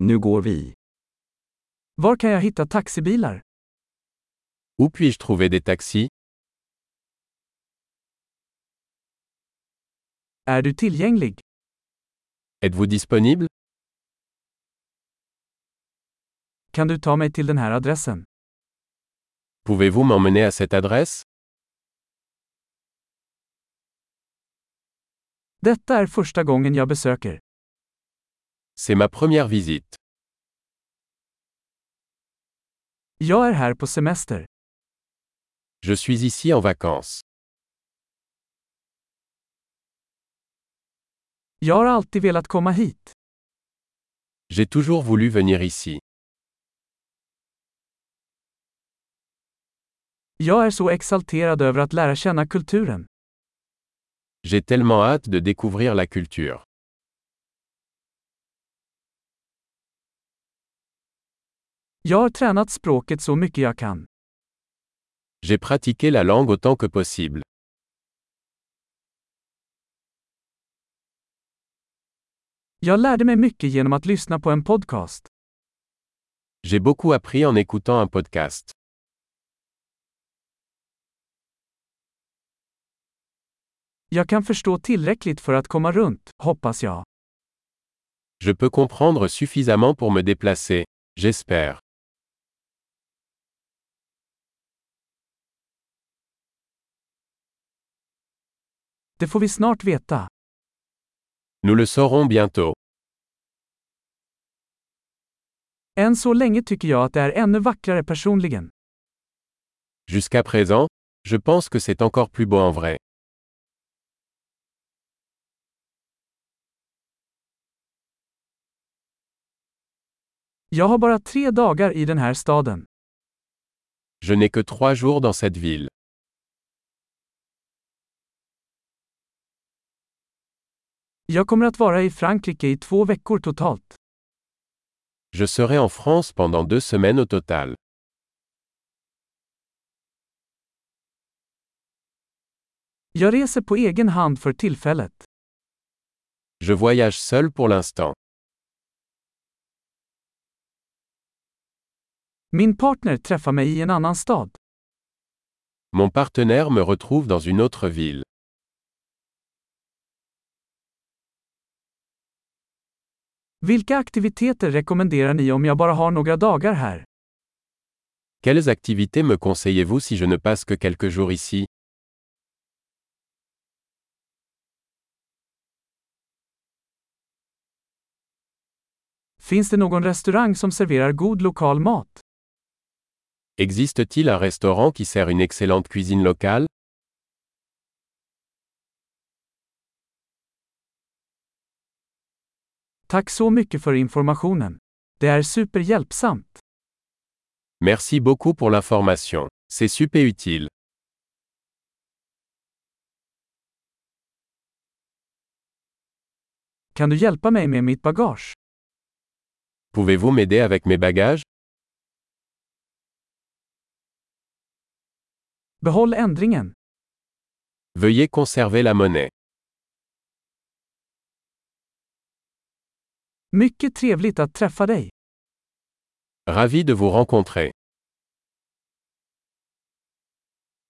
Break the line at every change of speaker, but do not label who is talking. Nu går vi.
Var kan jag hitta taxibilar?
Où puis-je trouver des taxis
Är du tillgänglig?
Êtes-vous disponible
Kan du ta mig till den här adressen?
Pouvez-vous m'emmener à cette adresse
Detta är första gången jag besöker.
C'est ma première visite.
Jag är här på semester.
Je suis ici en vacances.
Jag har alltid velat komma hit.
J'ai toujours voulu venir ici.
Jag är så exalterad över att lära känna kulturen.
J'ai tellement hâte de découvrir la culture.
Jag har tränat språket så mycket jag kan.
J'ai pratiqué la langue autant que possible.
Jag lärde mig mycket genom att lyssna på en podcast.
J'ai beaucoup appris en écoutant un podcast.
Jag kan förstå tillräckligt för att komma runt, hoppas jag.
Je peux comprendre suffisamment pour me déplacer. J'espère.
Det får vi snart veta.
Nous le saurons bientôt.
Än så länge tycker jag att det är ännu vackrare personligen.
Jusqu'à présent, je pense que c'est encore plus beau en vrai.
Jag har bara tre dagar i den här staden.
Je n'ai que trois jours dans cette ville.
Jag kommer att vara i Frankrike i två veckor totalt.
Je serai en France pendant deux semaines au total.
Jag reser på egen hand för tillfället.
Je voyage seul pour l'instant.
Min partner träffar mig i en annan stad.
Mon partenaire me retrouve dans une autre ville.
Vilka aktiviteter rekommenderar ni om jag bara har några dagar här?
Quelles activités me conseillez-vous si je ne passe que quelques jours ici
Finns det någon restaurang som serverar god lokal mat?
Existe-t-il un restaurant qui sert une excellente cuisine locale
Tack så mycket för informationen. Det är superhjälpsamt.
Merci beaucoup pour l'information. C'est super utile.
Kan du hjälpa mig med mitt bagage?
Pouvez-vous m'aider avec mes bagages
Behåll ändringen.
Veuillez conserver la monnaie.
Mycket trevligt att träffa dig.
Ravi de vous rencontrer.